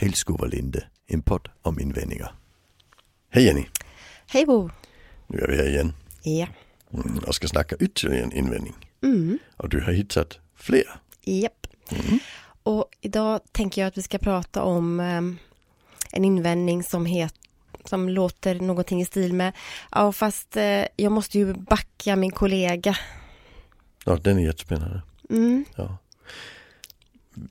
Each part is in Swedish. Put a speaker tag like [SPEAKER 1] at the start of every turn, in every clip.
[SPEAKER 1] Vilskovalinde, en podd om invändningar.
[SPEAKER 2] Hej Jenny,
[SPEAKER 3] Hej Bo!
[SPEAKER 2] nu är vi här igen
[SPEAKER 3] Ja.
[SPEAKER 2] mm, och ska snacka ytterligare en invändning.
[SPEAKER 3] Mm.
[SPEAKER 2] Och du har hittat fler.
[SPEAKER 3] Japp. Och idag tänker jag att vi ska prata om ehm, en invändning som, het, som låter någonting i stil med Ja fast eh, jag måste ju backa min kollega.
[SPEAKER 2] Ja, den är jättespännande.
[SPEAKER 3] Mm.
[SPEAKER 2] Ja.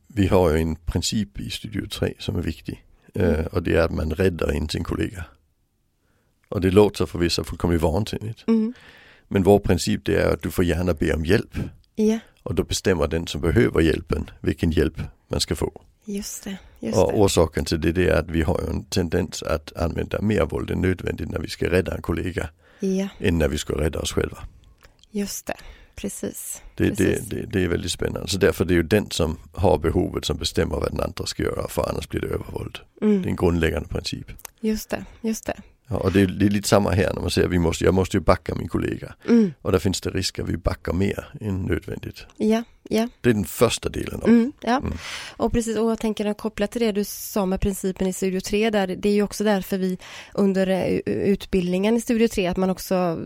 [SPEAKER 2] Vi har ju en princip i Studio 3 som är viktig eh, och det är att man räddar inte sin kollega. Och det låter förvisso fullkomligt vansinnigt.
[SPEAKER 3] Mm.
[SPEAKER 2] Men vår princip det är att du får gärna be om hjälp
[SPEAKER 3] Ja,
[SPEAKER 2] och då bestämmer den som behöver hjälpen vilken hjälp man ska få.
[SPEAKER 3] just det. Just
[SPEAKER 2] Och
[SPEAKER 3] det.
[SPEAKER 2] orsaken till det, det är att vi har ju en tendens att använda mer våld än nödvändigt när vi ska rädda en kollega
[SPEAKER 3] Ja,
[SPEAKER 2] än när vi ska rädda oss själva.
[SPEAKER 3] just det. Precis.
[SPEAKER 2] Det, det,
[SPEAKER 3] Precis.
[SPEAKER 2] det, det är väldigt spännande. Så därför är det ju den som har behovet som bestämmer vad den andra ska göra för annars blir det övervåld. Det är
[SPEAKER 3] Mm.
[SPEAKER 2] en grundläggande princip.
[SPEAKER 3] Just det, just det.
[SPEAKER 2] Ja, och det är, det är lite samma här när man säger att vi måste, jag måste ju backa min kollega.
[SPEAKER 3] Mm.
[SPEAKER 2] Och där finns det risk att vi backar mer än nödvändigt.
[SPEAKER 3] Ja, ja.
[SPEAKER 2] Det är den första delen av
[SPEAKER 3] Mm, ja,
[SPEAKER 2] Mm.
[SPEAKER 3] och precis, och jag tänker att kopplat till det du sa med principen i Studio 3 där, det är ju också därför vi under eh, utbildningen i Studio 3, att man också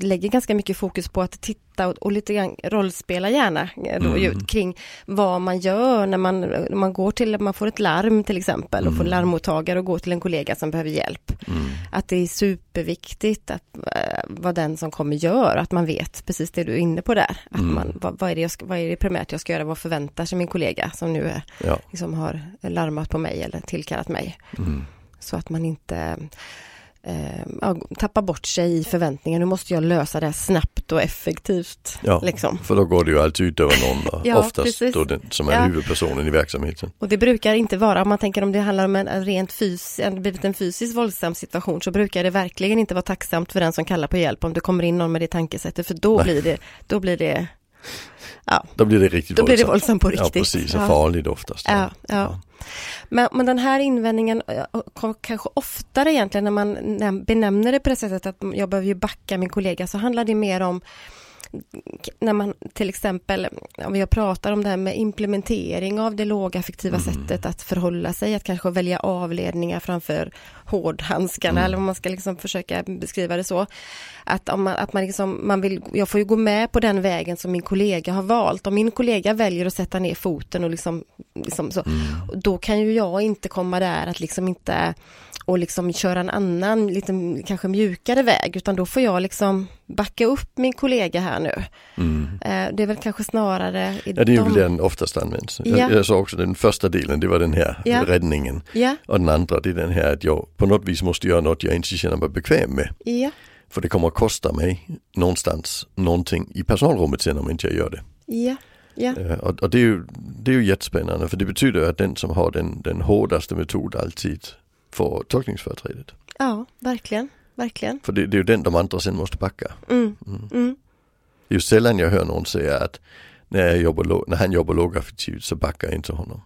[SPEAKER 3] lägger ganska mycket fokus på att titta och, och lite grann rollspela gärna eh, då,
[SPEAKER 2] Mm.
[SPEAKER 3] ju, kring vad man gör när man, när man går till, man får ett larm till exempel och får
[SPEAKER 2] Mm.
[SPEAKER 3] larmmottagare och går till en kollega som behöver hjälp.
[SPEAKER 2] Mm.
[SPEAKER 3] Att det är superviktigt att eh, vad den som kommer gör, att man vet precis det du är inne på där. Att
[SPEAKER 2] Mm.
[SPEAKER 3] man, vad, vad, är det jag ska, vad är det primärt jag ska göra, vad förväntar sig min kollega som nu är,
[SPEAKER 2] Ja.
[SPEAKER 3] liksom har larmat på mig eller tillkallat mig.
[SPEAKER 2] Mm.
[SPEAKER 3] Så att man inte eh, ja, tappar bort sig i förväntningen, nu måste jag lösa det här snabbt och effektivt.
[SPEAKER 2] Ja.
[SPEAKER 3] Liksom.
[SPEAKER 2] För då går det ju alltid ut över någon och
[SPEAKER 3] Ja,
[SPEAKER 2] oftast
[SPEAKER 3] precis.
[SPEAKER 2] då den som är
[SPEAKER 3] Ja.
[SPEAKER 2] huvudpersonen i verksamheten.
[SPEAKER 3] Och det brukar inte vara, om man tänker om det handlar om en, en rent fys, en, blivit en fysiskt våldsam situation, så brukar det verkligen inte vara tacksamt för den som kallar på hjälp om det kommer in någon med det tankesättet, för då
[SPEAKER 2] Nej.
[SPEAKER 3] blir det, då blir det, ja,
[SPEAKER 2] Då blir det riktigt
[SPEAKER 3] då blir det
[SPEAKER 2] våldsamt.
[SPEAKER 3] våldsamt på
[SPEAKER 2] Ja
[SPEAKER 3] riktigt.
[SPEAKER 2] precis, och
[SPEAKER 3] Ja.
[SPEAKER 2] farligt oftast.
[SPEAKER 3] Ja, ja. Men, men den här invändningen eh, kom kanske oftare egentligen när man näm- benämner det på det sättet att jag behöver ju backa min kollega så handlar det mer om k- när man till exempel, om jag pratar om det här med implementering av det lågaffektiva sättet att förhålla sig, att kanske välja avledningar framför hårdhandskarna eller om man ska liksom försöka beskriva det så. Att, om man, att man liksom, man vill, jag får ju gå med på den vägen som min kollega har valt. Om min kollega väljer att sätta ner foten och liksom, liksom så, och då kan ju jag inte komma där att liksom inte och liksom köra en annan, lite kanske mjukare väg, utan då får jag liksom backa upp min kollega här nu.
[SPEAKER 2] Mm.
[SPEAKER 3] Eh, Det är väl kanske snarare i
[SPEAKER 2] Ja, det är
[SPEAKER 3] de-
[SPEAKER 2] väl den oftast används. Jag,
[SPEAKER 3] Ja.
[SPEAKER 2] jag sa också den första delen, det var den här
[SPEAKER 3] Ja.
[SPEAKER 2] räddningen.
[SPEAKER 3] Ja,
[SPEAKER 2] Och den andra, det är den här att jag på något vis måste göra något jag inte känner mig bekväm med.
[SPEAKER 3] ja,
[SPEAKER 2] För det kommer att kosta mig någonstans någonting i personalrummet sen om inte jag gör det.
[SPEAKER 3] ja, ja,
[SPEAKER 2] Eh, Och, och det, är ju, det är ju jättespännande för det betyder ju att den som har den, den hårdaste metod alltid får tolkningsföreträdet.
[SPEAKER 3] ja, verkligen, verkligen.
[SPEAKER 2] För det, det är ju den de andra sen måste backa.
[SPEAKER 3] Mm, mm,
[SPEAKER 2] Det är ju sällan jag hör någon säga att när, jag jobbar, lå- när han jobbar lågaffektivt så backar jag inte honom.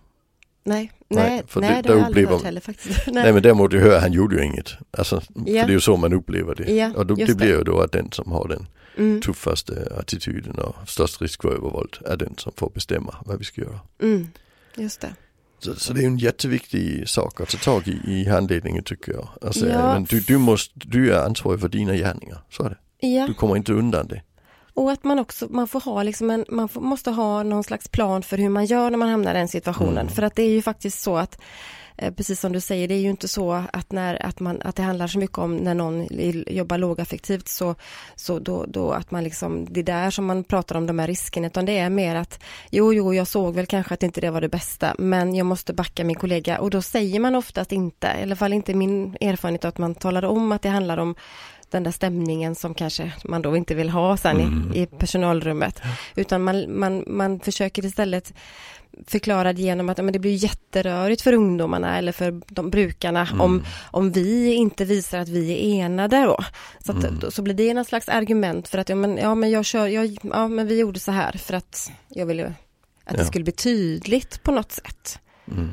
[SPEAKER 3] nej,
[SPEAKER 2] Nej,
[SPEAKER 3] nej,
[SPEAKER 2] för det-
[SPEAKER 3] nej, det
[SPEAKER 2] då
[SPEAKER 3] har jag aldrig
[SPEAKER 2] upplever-
[SPEAKER 3] hört heller faktiskt.
[SPEAKER 2] Nej, men däremot du hör, han gjorde ju inget. Alltså,
[SPEAKER 3] Ja.
[SPEAKER 2] För det är ju så man upplever det.
[SPEAKER 3] Ja,
[SPEAKER 2] och då,
[SPEAKER 3] just
[SPEAKER 2] det blir
[SPEAKER 3] det.
[SPEAKER 2] ju då att den som har den
[SPEAKER 3] Mm,
[SPEAKER 2] tuffaste attityden och störst risk för övervåld är den som får bestämma vad vi ska göra.
[SPEAKER 3] mm, just det.
[SPEAKER 2] Så, så det är ju en jätteviktig sak att ta tag i i handledningen tycker jag. Alltså,
[SPEAKER 3] Ja.
[SPEAKER 2] men du, du, måste, du är ansvarig för dina gärningar, så är det.
[SPEAKER 3] Ja.
[SPEAKER 2] Du kommer inte undan det.
[SPEAKER 3] Och att man också, man får ha liksom en, man får, måste ha någon slags plan för hur man gör när man hamnar i den situationen.
[SPEAKER 2] Mm.
[SPEAKER 3] För att det är ju faktiskt så att, eh, precis som du säger, det är ju inte så att, när, att, man, att det handlar så mycket om när någon i- jobbar lågaffektivt så, så då, då att man liksom, det är där som man pratar om de här riskerna, utan det är mer att jo, jo, jag såg väl kanske att inte det var det bästa, men jag måste backa min kollega och då säger man oftast inte, i alla fall inte min erfarenhet att man talar om att det handlar om den där stämningen som kanske man då inte vill ha sen i, i personalrummet. Utan man, man, man försöker istället förklara det genom att ja, men det blir jätterörigt för ungdomarna eller för de brukarna
[SPEAKER 2] Mm.
[SPEAKER 3] om, om vi inte visar att vi är enade då. Så, att, då, så blir det någon slags argument för att ja men, ja, men, jag kör, jag, ja, men vi gjorde så här för att jag ville att
[SPEAKER 2] Ja.
[SPEAKER 3] det skulle bli tydligt på något sätt.
[SPEAKER 2] Mm.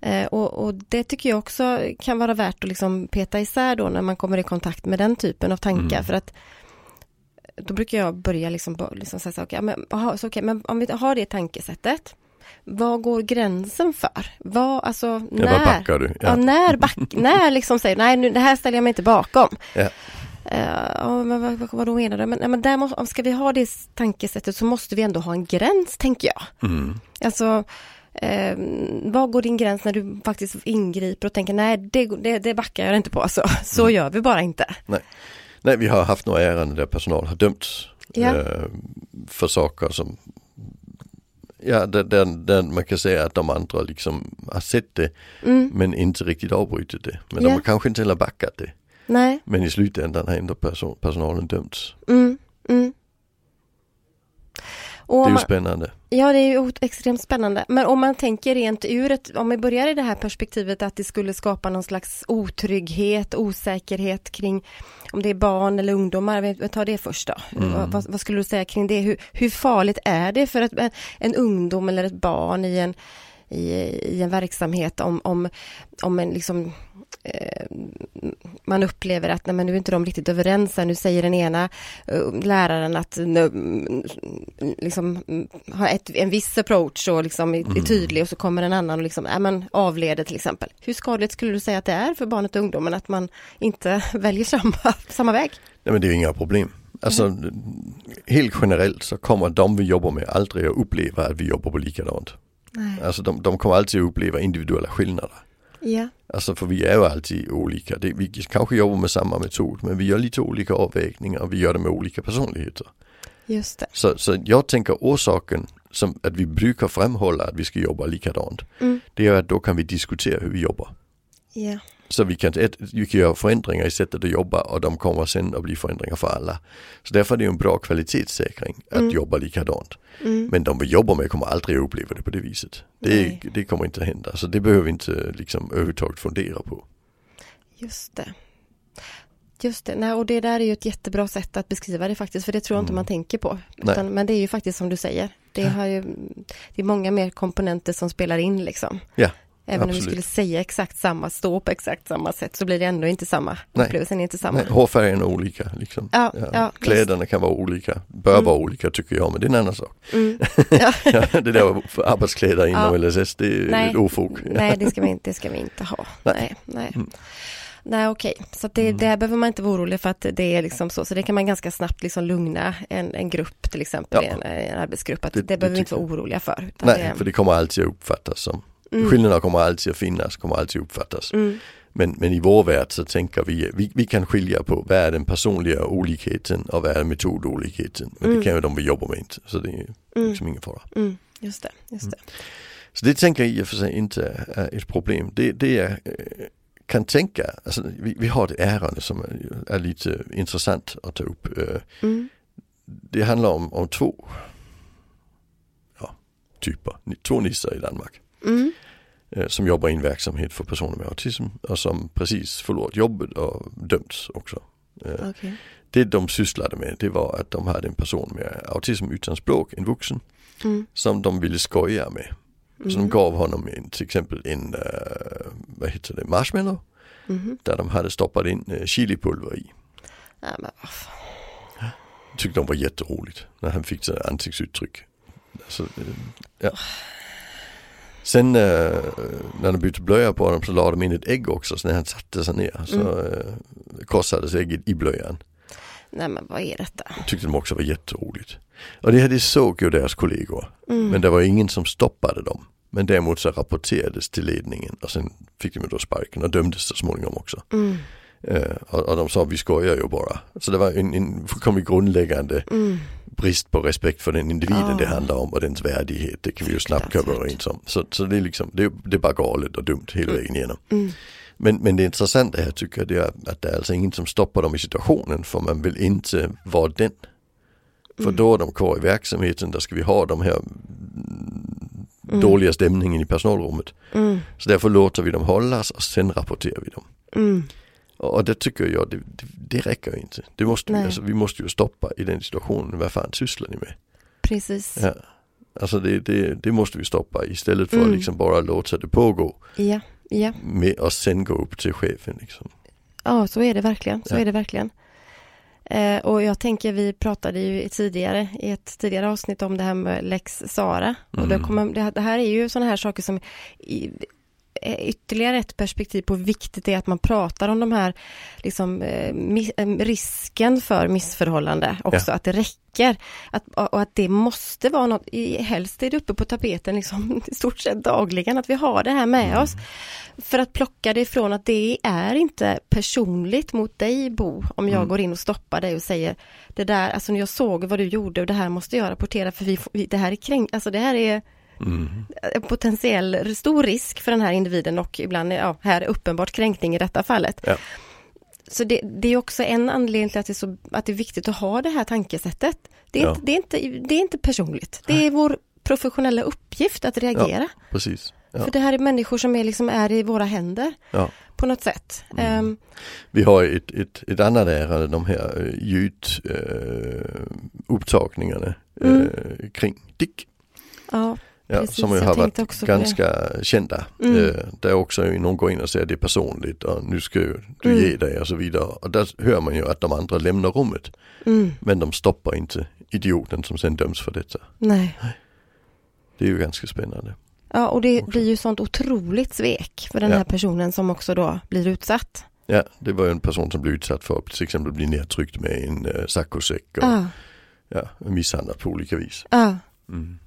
[SPEAKER 3] Eh, och, och det tycker jag också kan vara värt att liksom peta isär då när man kommer i kontakt med den typen av tankar.
[SPEAKER 2] Mm.
[SPEAKER 3] För att eh, då brukar jag börja liksom, bara liksom säga så, här, okej, ja, men, aha, så okej, men om vi har det tankesättet vad går gränsen för? Vad, alltså,
[SPEAKER 2] Ja,
[SPEAKER 3] när?
[SPEAKER 2] vad backar du?
[SPEAKER 3] Ja,
[SPEAKER 2] Ja.
[SPEAKER 3] när, back, när liksom säger nej nu, det här ställer jag mig inte bakom.
[SPEAKER 2] Ja.
[SPEAKER 3] Eh, ja, men vad, vad, vad då menar du? Men, nej, men där måste, om ska vi ha det tankesättet så måste vi ändå ha en gräns, tänker jag.
[SPEAKER 2] Mm.
[SPEAKER 3] Alltså, eh, vad går din gräns när du faktiskt ingriper och tänker nej, det, det, det backar jag inte på, alltså. så
[SPEAKER 2] Mm.
[SPEAKER 3] gör vi bara inte.
[SPEAKER 2] Nej, vi har haft några ärenden där personal har dömts
[SPEAKER 3] Ja.
[SPEAKER 2] eh, för saker som Ja, där, där, där man kan säga att de andra liksom har sett det
[SPEAKER 3] Mm,
[SPEAKER 2] men inte riktigt avbrutit det. Men de
[SPEAKER 3] Ja.
[SPEAKER 2] har kanske inte heller backat det.
[SPEAKER 3] nej,
[SPEAKER 2] Men i slutändan har ändå person, personalen dömts.
[SPEAKER 3] mm, mm. Och
[SPEAKER 2] Det är
[SPEAKER 3] om
[SPEAKER 2] ju
[SPEAKER 3] man,
[SPEAKER 2] spännande.
[SPEAKER 3] ja, det är ju ot- extremt spännande. Men om man tänker rent ur ett, om vi börjar i det här perspektivet att det skulle skapa någon slags otrygghet, osäkerhet kring om det är barn eller ungdomar, vi vi tar det först då. Vad, vad, vad skulle du säga kring det? Hur, hur farligt är det för ett, en, en ungdom eller ett barn i en, i, i en verksamhet om, om, om en liksom eh, man upplever att nej, men nu är inte de riktigt överens här. Nu säger den ena eh, läraren att nu, mm, liksom, mm, ha ett, en viss approach och liksom är,
[SPEAKER 2] Mm.
[SPEAKER 3] är tydlig och så kommer en annan och liksom, nej, men avleder till exempel. Hur skadligt skulle du säga att det är för barnet och ungdomen att man inte väljer samma, samma väg?
[SPEAKER 2] Nej men det är ju inga problem. Alltså helt generellt så kommer de vi jobbar med aldrig att uppleva att vi jobbar på likadant.
[SPEAKER 3] Nej.
[SPEAKER 2] Alltså de, de kommer alltid att uppleva individuella skillnader.
[SPEAKER 3] Ja,
[SPEAKER 2] Alltså för vi är ju alltid olika. Det, vi kanske jobbar med samma metod men vi gör lite olika avvägningar och vi gör det med olika personligheter.
[SPEAKER 3] just det.
[SPEAKER 2] Så, så jag tänker orsaken som att vi brukar framhålla att vi ska jobba likadant.
[SPEAKER 3] Mm.
[SPEAKER 2] Det är att då kan vi diskutera hur vi jobbar.
[SPEAKER 3] Ja,
[SPEAKER 2] Så vi kan, ett, vi kan göra förändringar i sättet att jobba och de kommer sen att bli förändringar för alla. Så därför är det ju en bra kvalitetssäkring att
[SPEAKER 3] Mm.
[SPEAKER 2] jobba likadant.
[SPEAKER 3] mm.
[SPEAKER 2] Men de vi jobbar med kommer aldrig att uppleva det på det viset. Det,
[SPEAKER 3] Nej.
[SPEAKER 2] det kommer inte att hända. Så det behöver vi inte liksom överhuvudtaget fundera på.
[SPEAKER 3] just det. Just det, Nej, och det där är ju ett jättebra sätt att beskriva det faktiskt, för det tror jag inte
[SPEAKER 2] Mm.
[SPEAKER 3] man tänker på.
[SPEAKER 2] Nej.
[SPEAKER 3] Utan, men det är ju faktiskt som du säger, det, har ju, det är många mer komponenter som spelar in liksom.
[SPEAKER 2] Ja,
[SPEAKER 3] Även om vi
[SPEAKER 2] absolut.
[SPEAKER 3] skulle säga exakt samma, stå på exakt samma sätt, så blir det ändå inte samma.
[SPEAKER 2] Nej.
[SPEAKER 3] Upplevelsen är inte samma.
[SPEAKER 2] Nej, hårfärgen är olika. Liksom.
[SPEAKER 3] Ja, ja,
[SPEAKER 2] Kläderna kan vara olika, bör
[SPEAKER 3] Mm.
[SPEAKER 2] vara olika tycker jag men det är en annan sak.
[SPEAKER 3] Mm.
[SPEAKER 2] Ja, det där för arbetskläder inom LSS det är
[SPEAKER 3] Nej.
[SPEAKER 2] ett ofog.
[SPEAKER 3] Nej, det ska vi inte, det ska vi inte ha.
[SPEAKER 2] Nej.
[SPEAKER 3] Nej, nej.
[SPEAKER 2] Mm.
[SPEAKER 3] Nej, okej. Så att det, där behöver man inte vara orolig för att det är liksom så. Så det kan man ganska snabbt liksom lugna en, en grupp, till exempel
[SPEAKER 2] Ja.
[SPEAKER 3] en, en arbetsgrupp. Att det,
[SPEAKER 2] Det-
[SPEAKER 3] behöver
[SPEAKER 2] det
[SPEAKER 3] vi inte vara
[SPEAKER 2] tycker
[SPEAKER 3] oroliga för. Utan
[SPEAKER 2] Nej, för det kommer alltid att uppfattas som
[SPEAKER 3] Mm.
[SPEAKER 2] Skillnader kommer alltid att finnas, kommer alltid att uppfattas.
[SPEAKER 3] Mm.
[SPEAKER 2] Men, men i vår värld så tänker vi, vi, vi kan skilja på vad är den personliga olikheten och vad är metodolikheten. Men
[SPEAKER 3] Mm.
[SPEAKER 2] det kan ju de vi jobbar med inte, så det är
[SPEAKER 3] Mm.
[SPEAKER 2] liksom ingen fara.
[SPEAKER 3] Mm. Just det, just det.
[SPEAKER 2] Så det tänker jag i och för sig inte är ett problem. Det, det jag eh, kan tänka, alltså, vi, vi har ett ärende som är, är lite intressant att ta upp. Eh,
[SPEAKER 3] Mm.
[SPEAKER 2] Det handlar om, om två ja, typer, ni- två nissar i Danmark
[SPEAKER 3] Mm.
[SPEAKER 2] eh, som jobbar i en verksamhet för personer med autism och som precis förlorat jobbet och dömts också. Eh,
[SPEAKER 3] Okej.
[SPEAKER 2] Det de sysslade med det var att de hade en person med autism utan språk, en vuxen,
[SPEAKER 3] Mm.
[SPEAKER 2] som de ville skoja med. Så de
[SPEAKER 3] Mm.
[SPEAKER 2] gav honom en, till exempel en, eh, vad heter det, marshmallow
[SPEAKER 3] Mhm.
[SPEAKER 2] där de hade stoppat in eh, chilipulver i.
[SPEAKER 3] Ja, men vad fan.
[SPEAKER 2] Tyckte de var jätteroligt när han fick sådana ansiktsuttryck. Alltså, eh, ja. Sen eh, när de bytte blöja på honom så la de in ett ägg också så när han satte sig ner så
[SPEAKER 3] Mm.
[SPEAKER 2] eh, korsades ägget i blöjan.
[SPEAKER 3] Nej, men vad är detta?
[SPEAKER 2] Tyckte de också var jätteroligt. Och det här det såg ju deras kollegor
[SPEAKER 3] Mm.
[SPEAKER 2] men det var ingen som stoppade dem. Men däremot så rapporterades till ledningen och sen fick de ju då sparken och dömdes så småningom också.
[SPEAKER 3] Mm.
[SPEAKER 2] Eh, och, och de sa vi skojar ju bara. Så det var en, en fullkomligt grundläggande
[SPEAKER 3] Mm.
[SPEAKER 2] brist på respekt för den individen
[SPEAKER 3] Ja.
[SPEAKER 2] det handlar om och dens värdighet. Det kan vi ju snabbt komma
[SPEAKER 3] Fruktansvärt.
[SPEAKER 2] överens om. Så, så det, är liksom, det, är- det är bara galet och dumt hela vägen igenom.
[SPEAKER 3] Mm.
[SPEAKER 2] Men, men det intressanta här tycker jag det är att det är alltså ingen som stoppar dem i situationen för man vill inte vara den. För
[SPEAKER 3] Mm.
[SPEAKER 2] då är de kvar i verksamheten, där ska vi ha de här mm, dåliga stämningen i personalrummet.
[SPEAKER 3] Mm.
[SPEAKER 2] Så därför låter vi dem hållas och sen rapporterar vi dem.
[SPEAKER 3] Mm.
[SPEAKER 2] Och och det tycker jag, det, det, det räcker ju inte. Det måste, vi-
[SPEAKER 3] Nej.
[SPEAKER 2] alltså, vi måste ju stoppa i den situationen, vad fan sysslar ni med?
[SPEAKER 3] Precis.
[SPEAKER 2] Ja. Alltså det, det, det måste vi stoppa istället för
[SPEAKER 3] Mm.
[SPEAKER 2] att liksom bara låta det pågå
[SPEAKER 3] Ja, ja.
[SPEAKER 2] med, och sen gå upp till chefen. Liksom.
[SPEAKER 3] Ja, så är det verkligen. Så
[SPEAKER 2] Ja.
[SPEAKER 3] är det verkligen. Eh, och jag tänker, vi pratade ju tidigare i ett tidigare avsnitt om det här med lex Sara. Och det, kommer, det, det här är ju sådana här saker som i, är ytterligare ett perspektiv på hur viktigt det är att man pratar om de här liksom, eh, mi- eh, risken för missförhållande också, att det räcker. Att, och och att det måste vara något, i, helst är det uppe på tapeten liksom, i stort sett dagligen, att vi har det här med oss. För att plocka det ifrån att det är inte personligt mot dig Bo, om
[SPEAKER 2] Mm.
[SPEAKER 3] jag går in och stoppar dig och säger det där, alltså jag såg vad du gjorde och det här måste jag rapportera för vi, får- vi, det här är kränk, alltså det här är
[SPEAKER 2] Mm.
[SPEAKER 3] en potentiell stor risk för den här individen och ibland ja, här uppenbart kränkning i detta fallet.
[SPEAKER 2] Ja.
[SPEAKER 3] Så det, det är också en anledning till att det, är så, att det är viktigt att ha det här tankesättet. Det är,
[SPEAKER 2] Ja.
[SPEAKER 3] inte, det är, inte, det är inte personligt, det är vår professionella uppgift att reagera.
[SPEAKER 2] Precis. Ja.
[SPEAKER 3] För det här är människor som är, liksom, är i våra händer
[SPEAKER 2] Ja.
[SPEAKER 3] på något sätt. Ehm,
[SPEAKER 2] Vi har ett, ett, ett annat ärende, de här eh, ljudupptagningarna eh,
[SPEAKER 3] Mm.
[SPEAKER 2] kring Dick.
[SPEAKER 3] ja,
[SPEAKER 2] Ja,
[SPEAKER 3] Precis,
[SPEAKER 2] som ju
[SPEAKER 3] jag
[SPEAKER 2] har
[SPEAKER 3] tänkte
[SPEAKER 2] varit
[SPEAKER 3] också på
[SPEAKER 2] ganska kända.
[SPEAKER 3] Mm.
[SPEAKER 2] Eh, där också någon går in och säger det är personligt och nu ska ju du
[SPEAKER 3] Mm.
[SPEAKER 2] ge dig och så vidare. Och där hör man ju att de andra lämnar rummet.
[SPEAKER 3] mm,
[SPEAKER 2] Men de stoppar inte idioten som sen döms för detta.
[SPEAKER 3] nej.
[SPEAKER 2] Det är ju ganska spännande.
[SPEAKER 3] Ja, och det
[SPEAKER 2] Också.
[SPEAKER 3] blir ju sånt otroligt svek för den
[SPEAKER 2] Ja.
[SPEAKER 3] här personen som också då blir utsatt.
[SPEAKER 2] Ja, det var ju en person som blev utsatt för att till exempel bli nedtryckt med en uh, saccosäck och
[SPEAKER 3] Ja,
[SPEAKER 2] ja, misshandlad på olika vis.
[SPEAKER 3] ja.
[SPEAKER 2] Mm.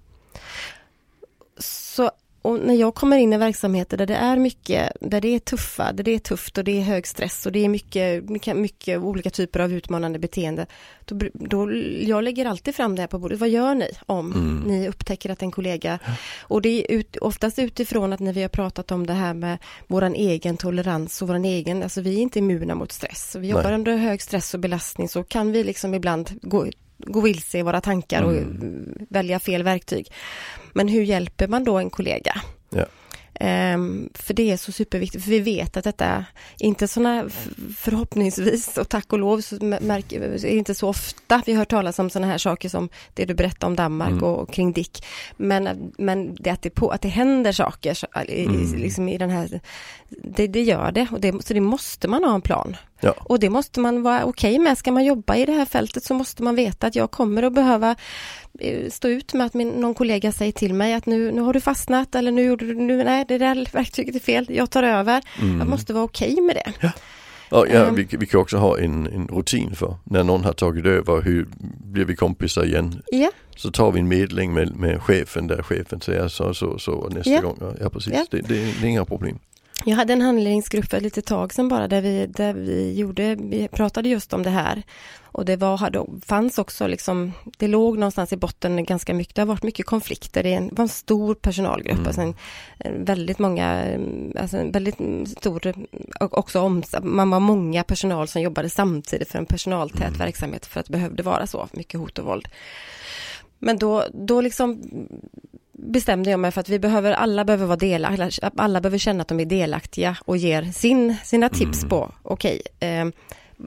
[SPEAKER 3] så och när jag kommer in i verksamheter där det är mycket, där det är tuffa, där det är tufft och det är hög stress och det är mycket, mycket, mycket olika typer av utmanande beteende. Då, br- då, jag lägger alltid fram det här på bordet. Vad gör ni om
[SPEAKER 2] Mm.
[SPEAKER 3] ni upptäcker att en kollega, och det är ut, oftast utifrån att när vi har pratat om det här med våran egen tolerans och våran egen, alltså vi är inte immuna mot stress. Vi jobbar
[SPEAKER 2] Nej.
[SPEAKER 3] under hög stress och belastning så kan vi liksom ibland gå, gå vilse i våra tankar och
[SPEAKER 2] Mm.
[SPEAKER 3] eh, välja fel verktyg. Men hur hjälper man då en kollega?
[SPEAKER 2] Ja.
[SPEAKER 3] Ehm, för det är så superviktigt, för vi vet att detta, inte sådana, förhoppningsvis och tack och lov, så m- märk, är det inte så ofta vi hör talas om sådana här saker som det du berättade om Danmark och, och kring Dick. Men, men det att det, på, att det händer saker så, i, i, liksom i den här, det, det gör det, och det, så det måste man ha en plan.
[SPEAKER 2] Ja.
[SPEAKER 3] Och det måste man vara okej med. Ska man jobba i det här fältet så måste man veta att jag kommer att behöva eh, stå ut med att min, någon kollega säger till mig att nu, nu har du fastnat eller nu gjorde du, nu, nej det där verktyget är fel, jag tar över. Mm.
[SPEAKER 2] Mm.
[SPEAKER 3] Jag måste vara okej med det.
[SPEAKER 2] Och ja,
[SPEAKER 3] Ehm.
[SPEAKER 2] vi, vi kan också ha en, en rutin för när någon har tagit över, hur blir vi kompisar igen?
[SPEAKER 3] Ja,
[SPEAKER 2] Så tar vi en medling med, med chefen där chefen säger så så så och nästa
[SPEAKER 3] Ja.
[SPEAKER 2] gång. Ja, Ja precis,
[SPEAKER 3] Ja.
[SPEAKER 2] Det, det, är- det är inga problem.
[SPEAKER 3] jag hade en handledningsgrupp för ett litet tag sedan bara där vi, där vi, gjorde, vi pratade just om det här. Och det var, hade, fanns också liksom, det låg någonstans i botten ganska mycket, det har varit mycket konflikter, det är en- var en stor personalgrupp, alltså en, en väldigt många, eh, alltså en väldigt mm, stor, eh, och också om, man var många personal som jobbade samtidigt för en personaltät verksamhet för att det behövde vara så, mycket hot och våld. Men då, då liksom bestämde jag mig för att vi behöver, alla behöver vara delaktiga, alla, alla behöver känna att de är delaktiga och ger sin, sina tips på, okej, ehm,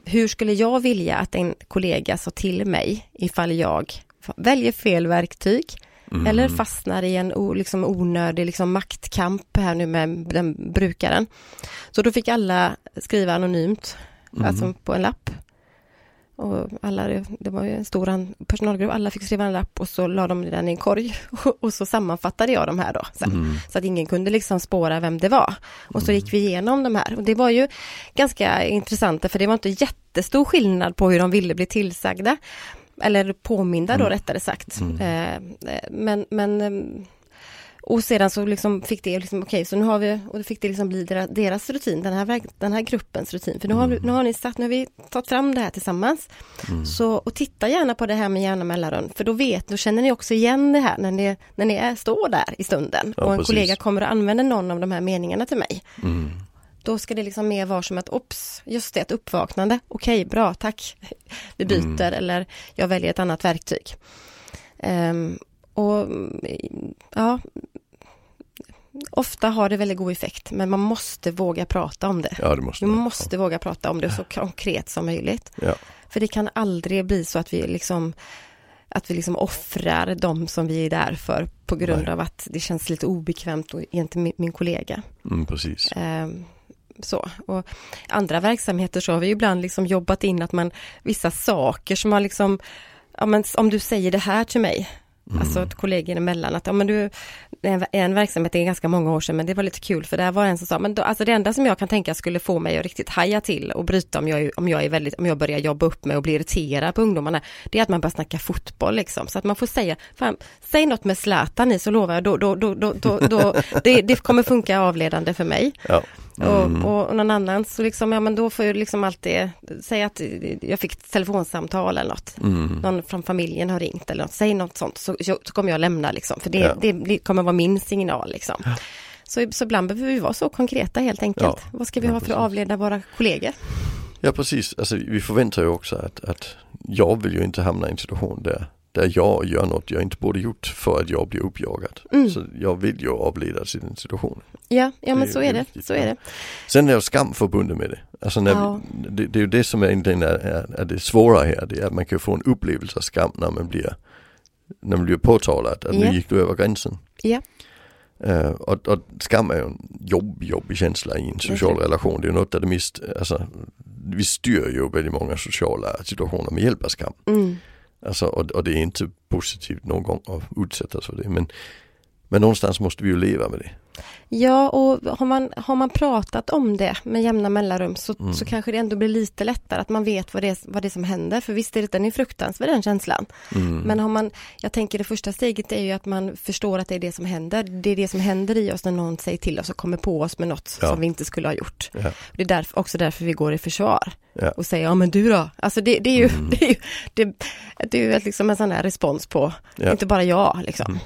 [SPEAKER 3] hur skulle jag vilja att en kollega sa till mig ifall jag fa- väljer fel verktyg Mm. eller
[SPEAKER 2] Mm.
[SPEAKER 3] fastnar i en o, liksom onödig liksom maktkamp här nu med den brukaren. Så då fick alla skriva anonymt,
[SPEAKER 2] Mm-hmm. Mm.
[SPEAKER 3] alltså på en lapp. Och alla, det var ju en stor an- personalgrupp, alla fick skriva en lapp och så la de den i en korg och, och så sammanfattade jag de här då. Sen,
[SPEAKER 2] Mm-hmm.
[SPEAKER 3] Så att ingen kunde liksom spåra vem det var. Och så gick vi igenom de här och det var ju ganska intressant för det var inte jättestor skillnad på hur de ville bli tillsagda. Eller påminda då rättare sagt. Eh, eh, men, men ehm, och sedan så liksom fick det liksom, okej, så nu har vi, och då fick det liksom bli dera- deras rutin, den här, verk- den här gruppens rutin. För nu har, vi- nu har ni satt, nu har vi tagit fram det här tillsammans. Så, och titta gärna på det här med jämna mellanrum, för då vet, då känner ni också igen det här när ni, när ni är, står där i stunden.
[SPEAKER 2] Ja,
[SPEAKER 3] och en
[SPEAKER 2] precis.
[SPEAKER 3] kollega kommer att använda någon av de här meningarna till mig.
[SPEAKER 2] Mm-hmm.
[SPEAKER 3] Då ska det liksom mer vara som att, ops, just det, ett uppvaknande. Okej, bra, tack. Vi byter
[SPEAKER 2] Mm.
[SPEAKER 3] eller jag väljer ett annat verktyg. Ehm, och mm, ja, ofta har det väldigt god effekt, men man måste våga prata om det.
[SPEAKER 2] Ja det måste
[SPEAKER 3] Vi
[SPEAKER 2] man.
[SPEAKER 3] måste våga prata om det så konkret som möjligt.
[SPEAKER 2] Ja.
[SPEAKER 3] För det kan aldrig bli så att vi liksom att vi liksom offrar de som vi är där för på grund
[SPEAKER 2] Nej.
[SPEAKER 3] av att det känns lite obekvämt och gentemot min kollega.
[SPEAKER 2] Mm, precis.
[SPEAKER 3] Ehm, så. Och andra verksamheter så har vi ju ibland liksom jobbat in att man, vissa saker som har liksom, ja men om du säger det här till mig, Alltså ett kollegor emellan att, ja men du, en, en verksamhet, det är ganska många år sedan, men det var lite kul för där var en som sa, men då, alltså det enda som jag kan tänka skulle få mig att riktigt haja till och bryta om jag, är- om jag är väldigt, om jag börjar jobba upp mig och blir irriterad på ungdomarna, det är att man börjar snacka fotboll liksom. Så att man får säga, fan, säg något med Zlatan i så lovar jag, då, då, då, då, då, då det, det kommer funka avledande för mig.
[SPEAKER 2] Ja. Mm.
[SPEAKER 3] Och, och någon annan, så liksom, ja men då får ju liksom alltid, säga att jag fick ett telefonsamtal eller något.
[SPEAKER 2] Mm-hmm.
[SPEAKER 3] Någon från familjen har ringt eller något, säg något sånt, så, så kommer jag lämna liksom, för det,
[SPEAKER 2] Ja.
[SPEAKER 3] det blir- kommer vara min signal liksom. Så, så ibland behöver vi vara så konkreta helt enkelt.
[SPEAKER 2] Ja.
[SPEAKER 3] Vad ska vi
[SPEAKER 2] Ja,
[SPEAKER 3] ha för att
[SPEAKER 2] precis.
[SPEAKER 3] avleda våra kollegor?
[SPEAKER 2] ja, precis. Alltså, vi förväntar ju också att, att jag vill ju inte hamna i en situation där, där jag gör något jag inte borde gjort för att jag blir uppjagad.
[SPEAKER 3] Mm.
[SPEAKER 2] Så jag vill ju avledas i den situationen.
[SPEAKER 3] Ja, ja men
[SPEAKER 2] är
[SPEAKER 3] så är det,
[SPEAKER 2] viktigt,
[SPEAKER 3] så är
[SPEAKER 2] ja.
[SPEAKER 3] det.
[SPEAKER 2] Sen är ju skam förbundet med det. Alltså när
[SPEAKER 3] Ja.
[SPEAKER 2] vi, det, det är ju det som egentligen är, är, är det svåra här. Det är att man kan få en upplevelse av skam när man blir, när man blir påtalad att
[SPEAKER 3] Ja.
[SPEAKER 2] nu gick du över gränsen.
[SPEAKER 3] Ja.
[SPEAKER 2] Eh, och, och skam är ju en jobb, jobbig känsla i en social relation. Det är ju något där det mest, alltså, vi styr ju väldigt många sociala situationer med hjälp av skam.
[SPEAKER 3] Mm.
[SPEAKER 2] Alltså, och, och det är inte positivt någon gång att utsättas för det. Men, men någonstans måste vi ju leva med det.
[SPEAKER 3] Ja, och har man, har man pratat om det med jämna mellanrum så,
[SPEAKER 2] Mm.
[SPEAKER 3] så kanske det ändå blir lite lättare att man vet vad det, är- vad det är som händer. För visst är det, den är fruktansvärd den känslan.
[SPEAKER 2] Mm.
[SPEAKER 3] Men har man, jag tänker det första steget är ju att man förstår att det är det som händer. Det är det som händer i oss när någon säger till oss och kommer på oss med något
[SPEAKER 2] Ja.
[SPEAKER 3] som vi inte skulle ha gjort.
[SPEAKER 2] Ja.
[SPEAKER 3] Det är därför, också därför vi går i försvar
[SPEAKER 2] Ja. Mm.
[SPEAKER 3] och säger, ja men du då? Alltså det, det är ju, det är ju, det, det är ju ett- liksom en sån där respons på,
[SPEAKER 2] Ja. Mm.
[SPEAKER 3] inte bara jag liksom.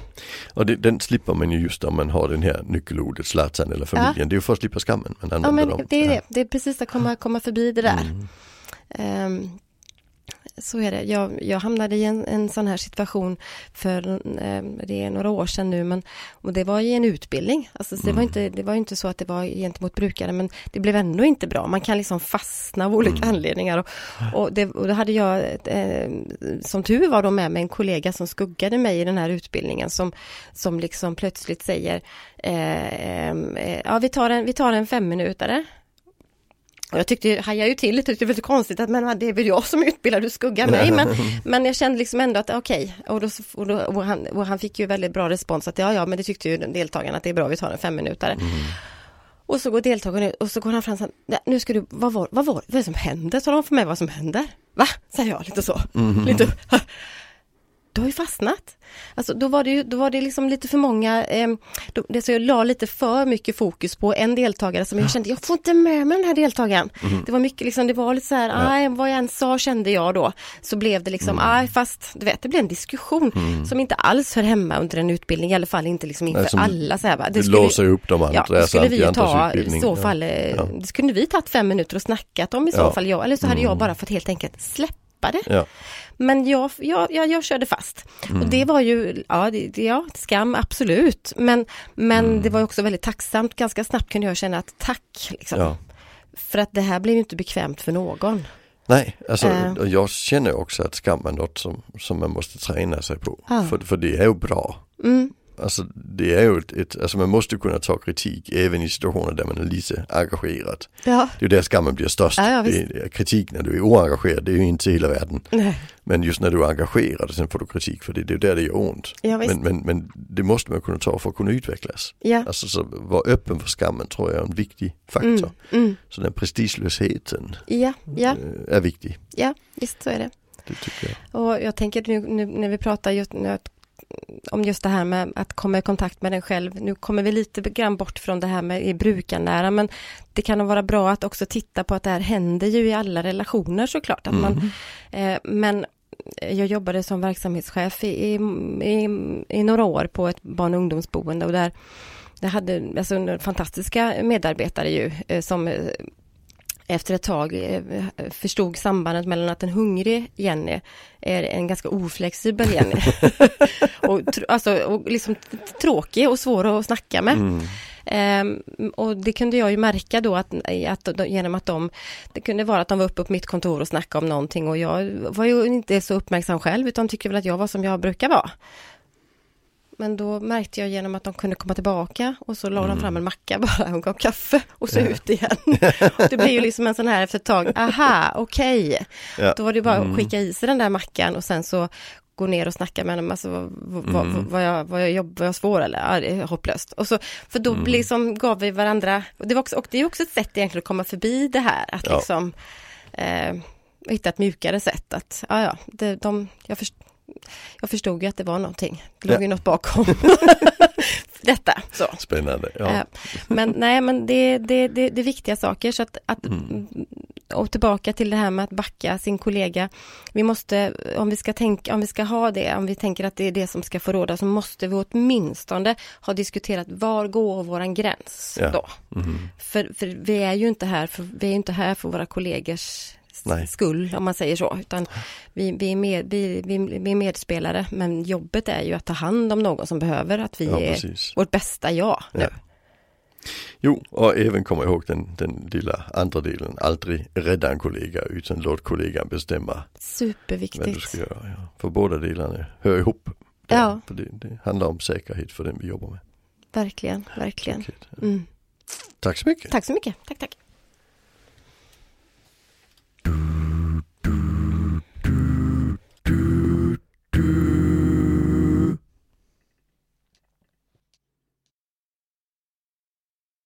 [SPEAKER 2] Och det, den slipper man ju just om man har den här nyckelordet Zlatan eller familjen. Det är ju för att slippa skammen man
[SPEAKER 3] Ja
[SPEAKER 2] använder
[SPEAKER 3] men
[SPEAKER 2] dem.
[SPEAKER 3] det är
[SPEAKER 2] Ja. Mm.
[SPEAKER 3] det, det är precis att komma, komma förbi det där. Ehm, så är det. Jag, jag hamnade i en, en sån här situation för ehm, det är några år sedan nu men och det var i en utbildning. Alltså, så det, var inte, det var ju inte så att det var gentemot brukare men det blev ändå inte bra. Man kan liksom fastna av olika anledningar. Och, och, det, och då hade jag ett, eh, som tur var då med mig en kollega som skuggade mig i den här utbildningen som, som liksom plötsligt säger eh, ehm, eh, ja vi tar en, vi tar en femminutare. Och jag tyckte, hajade ju till lite, tyckte det var lite konstigt att men det är väl jag som är utbildad, du skuggar mig. Men, men jag kände liksom ändå att okej, och, då, och, då, och, han, och han fick ju väldigt bra respons att ja, ja, men det tyckte ju deltagarna att det är bra, vi tar en femminutare. Och så går deltagarna ut och så går han fram och säger, "Nej, nu ska du, vad var, vad var vad är det som händer? Talar om för mig vad som händer. Va? Säger jag lite så.
[SPEAKER 2] Mhm.
[SPEAKER 3] Lite, du har ju fastnat. Alltså, då var det ju då var det liksom lite för många, eh, då, det, så jag la lite för mycket fokus på en deltagare som jag kände, jag får inte med mig den här deltagaren.
[SPEAKER 2] Mhm.
[SPEAKER 3] Det var mycket liksom, det var lite så här, aj, vad jag än sa kände jag då, så blev det liksom,
[SPEAKER 2] Mm.
[SPEAKER 3] aj, fast du vet, det blev en diskussion som inte alls hör hemma under en utbildning, i alla fall inte liksom inför
[SPEAKER 2] Nej, som
[SPEAKER 3] alla så här. Va?
[SPEAKER 2] Det låser ju upp de andra.
[SPEAKER 3] Ja, det
[SPEAKER 2] alltså,
[SPEAKER 3] skulle vi
[SPEAKER 2] i
[SPEAKER 3] ju
[SPEAKER 2] andras
[SPEAKER 3] ta i
[SPEAKER 2] utbildning.
[SPEAKER 3] så
[SPEAKER 2] Ja.
[SPEAKER 3] fall, eh, det skulle vi tagit fem minuter och snackat om i så
[SPEAKER 2] Ja. Mm.
[SPEAKER 3] fall, jag, eller så hade jag bara fått helt enkelt släppa det.
[SPEAKER 2] Ja. Mm.
[SPEAKER 3] Men jag, jag, jag, jag körde fast. Och det var ju, ja, det, det- ja skam absolut. Men, men
[SPEAKER 2] Mm.
[SPEAKER 3] det var ju också väldigt tacksamt. Ganska snabbt kunde jag känna att tack, liksom.
[SPEAKER 2] Ja.
[SPEAKER 3] För att det här blev ju inte bekvämt för någon.
[SPEAKER 2] Nej, alltså,
[SPEAKER 3] Eh.
[SPEAKER 2] och jag känner också att skam är något som, som man måste träna sig på.
[SPEAKER 3] Ja. Mm.
[SPEAKER 2] För, för det är ju bra. Alltså det är ju ett, ett, alltså man måste ju kunna ta kritik även i situationer där man är lite engagerad.
[SPEAKER 3] Ja.
[SPEAKER 2] Det är ju där skammen blir störst.
[SPEAKER 3] Ja, ja,
[SPEAKER 2] det
[SPEAKER 3] visst.
[SPEAKER 2] är, kritik när du är oengagerad, det är ju inte hela världen.
[SPEAKER 3] Nej.
[SPEAKER 2] Men just när du är engagerad sen får du kritik för det, det är ju där det gör ont.
[SPEAKER 3] Ja, visst.
[SPEAKER 2] men, men, men det måste man kunna ta för att kunna utvecklas.
[SPEAKER 3] Ja.
[SPEAKER 2] Alltså så vara öppen för skammen tror jag är en viktig faktor. Så den prestigelösheten
[SPEAKER 3] Mm. Ja, ja,
[SPEAKER 2] eh, är viktig,
[SPEAKER 3] ja, visst så är det.
[SPEAKER 2] det tycker jag.
[SPEAKER 3] Och jag tänker nu, nu när vi pratar just, nu att- om just det här med att komma i kontakt med den själv. Nu kommer vi lite grann bort från det här med i brukarnära, men det kan vara bra att också titta på att det här händer ju i alla relationer såklart.
[SPEAKER 2] Mm.
[SPEAKER 3] Att man, eh, men eh, jag jobbade som verksamhetschef i, i, i, i några år på ett barn och ungdomsboende och där, där hade alltså, några fantastiska medarbetare ju eh, som eh, efter ett tag eh, förstod sambandet mellan att en hungrig Jenny är en ganska oflexibel Jenny. och, tr- alltså, och liksom t- tråkig och svår att snacka med.
[SPEAKER 2] Mm.
[SPEAKER 3] Ehm, och det kunde jag ju märka då att, att de, genom att de, det kunde vara att de var uppe på mitt kontor och snackade om någonting och jag var ju inte så uppmärksam själv utan tycker väl att jag var som jag brukar vara. Men då märkte jag genom att de kunde komma tillbaka och så la de fram en macka bara, hon gav kaffe och så ut igen. det blev ju liksom en sån här efter ett tag, aha, okej.
[SPEAKER 2] Ja.
[SPEAKER 3] Då var det bara
[SPEAKER 2] Mm.
[SPEAKER 3] att skicka i sig den där mackan och sen så gå ner och snacka med honom, alltså, vad, vad,
[SPEAKER 2] Mm.
[SPEAKER 3] vad, jag, vad, jag jobb, vad jag svår eller, ja, det är hopplöst. Och så, för
[SPEAKER 2] Mm.
[SPEAKER 3] då liksom gav vi varandra, och det, var också, och det är också ett sätt egentligen att komma förbi det här, att
[SPEAKER 2] Ja.
[SPEAKER 3] liksom eh, hitta ett mjukare sätt, att ja, ja, det, de, jag, först, jag förstod ju att det var någonting, det låg
[SPEAKER 2] Ja.
[SPEAKER 3] ju något bakom detta. Så.
[SPEAKER 2] Spännande. Ja.
[SPEAKER 3] Eh, Men nej, men det, det, det, det är viktiga saker. Så att, att,
[SPEAKER 2] Mm.
[SPEAKER 3] Och tillbaka till det här med att backa sin kollega. Vi måste, om vi ska tänka, om vi ska ha det, om vi tänker att det är det som ska få råda, så måste vi åtminstone ha diskuterat var går våran gräns
[SPEAKER 2] Ja.
[SPEAKER 3] då?
[SPEAKER 2] Mm.
[SPEAKER 3] För, för vi är ju inte här för, vi är ju inte här för våra kollegors s-
[SPEAKER 2] Nej.
[SPEAKER 3] skull, om man säger så, utan vi, vi, är med, vi, vi, vi är medspelare, men jobbet är ju att ta hand om någon som behöver att vi
[SPEAKER 2] Ja,
[SPEAKER 3] är
[SPEAKER 2] precis.
[SPEAKER 3] vårt bästa jag nu.
[SPEAKER 2] Ja. Jo, och även komma ihåg den, den lilla andra delen, aldrig rädda en kollega utan låt kollegan bestämma vad du
[SPEAKER 3] Superviktigt.
[SPEAKER 2] ska göra. Ja. För båda delarna hör ihop.
[SPEAKER 3] Ja.
[SPEAKER 2] För det, det handlar om säkerhet för den vi jobbar med.
[SPEAKER 3] Verkligen, verkligen.
[SPEAKER 2] Okej.
[SPEAKER 3] Mm.
[SPEAKER 2] Tack så mycket.
[SPEAKER 3] Tack så mycket. Tack, tack.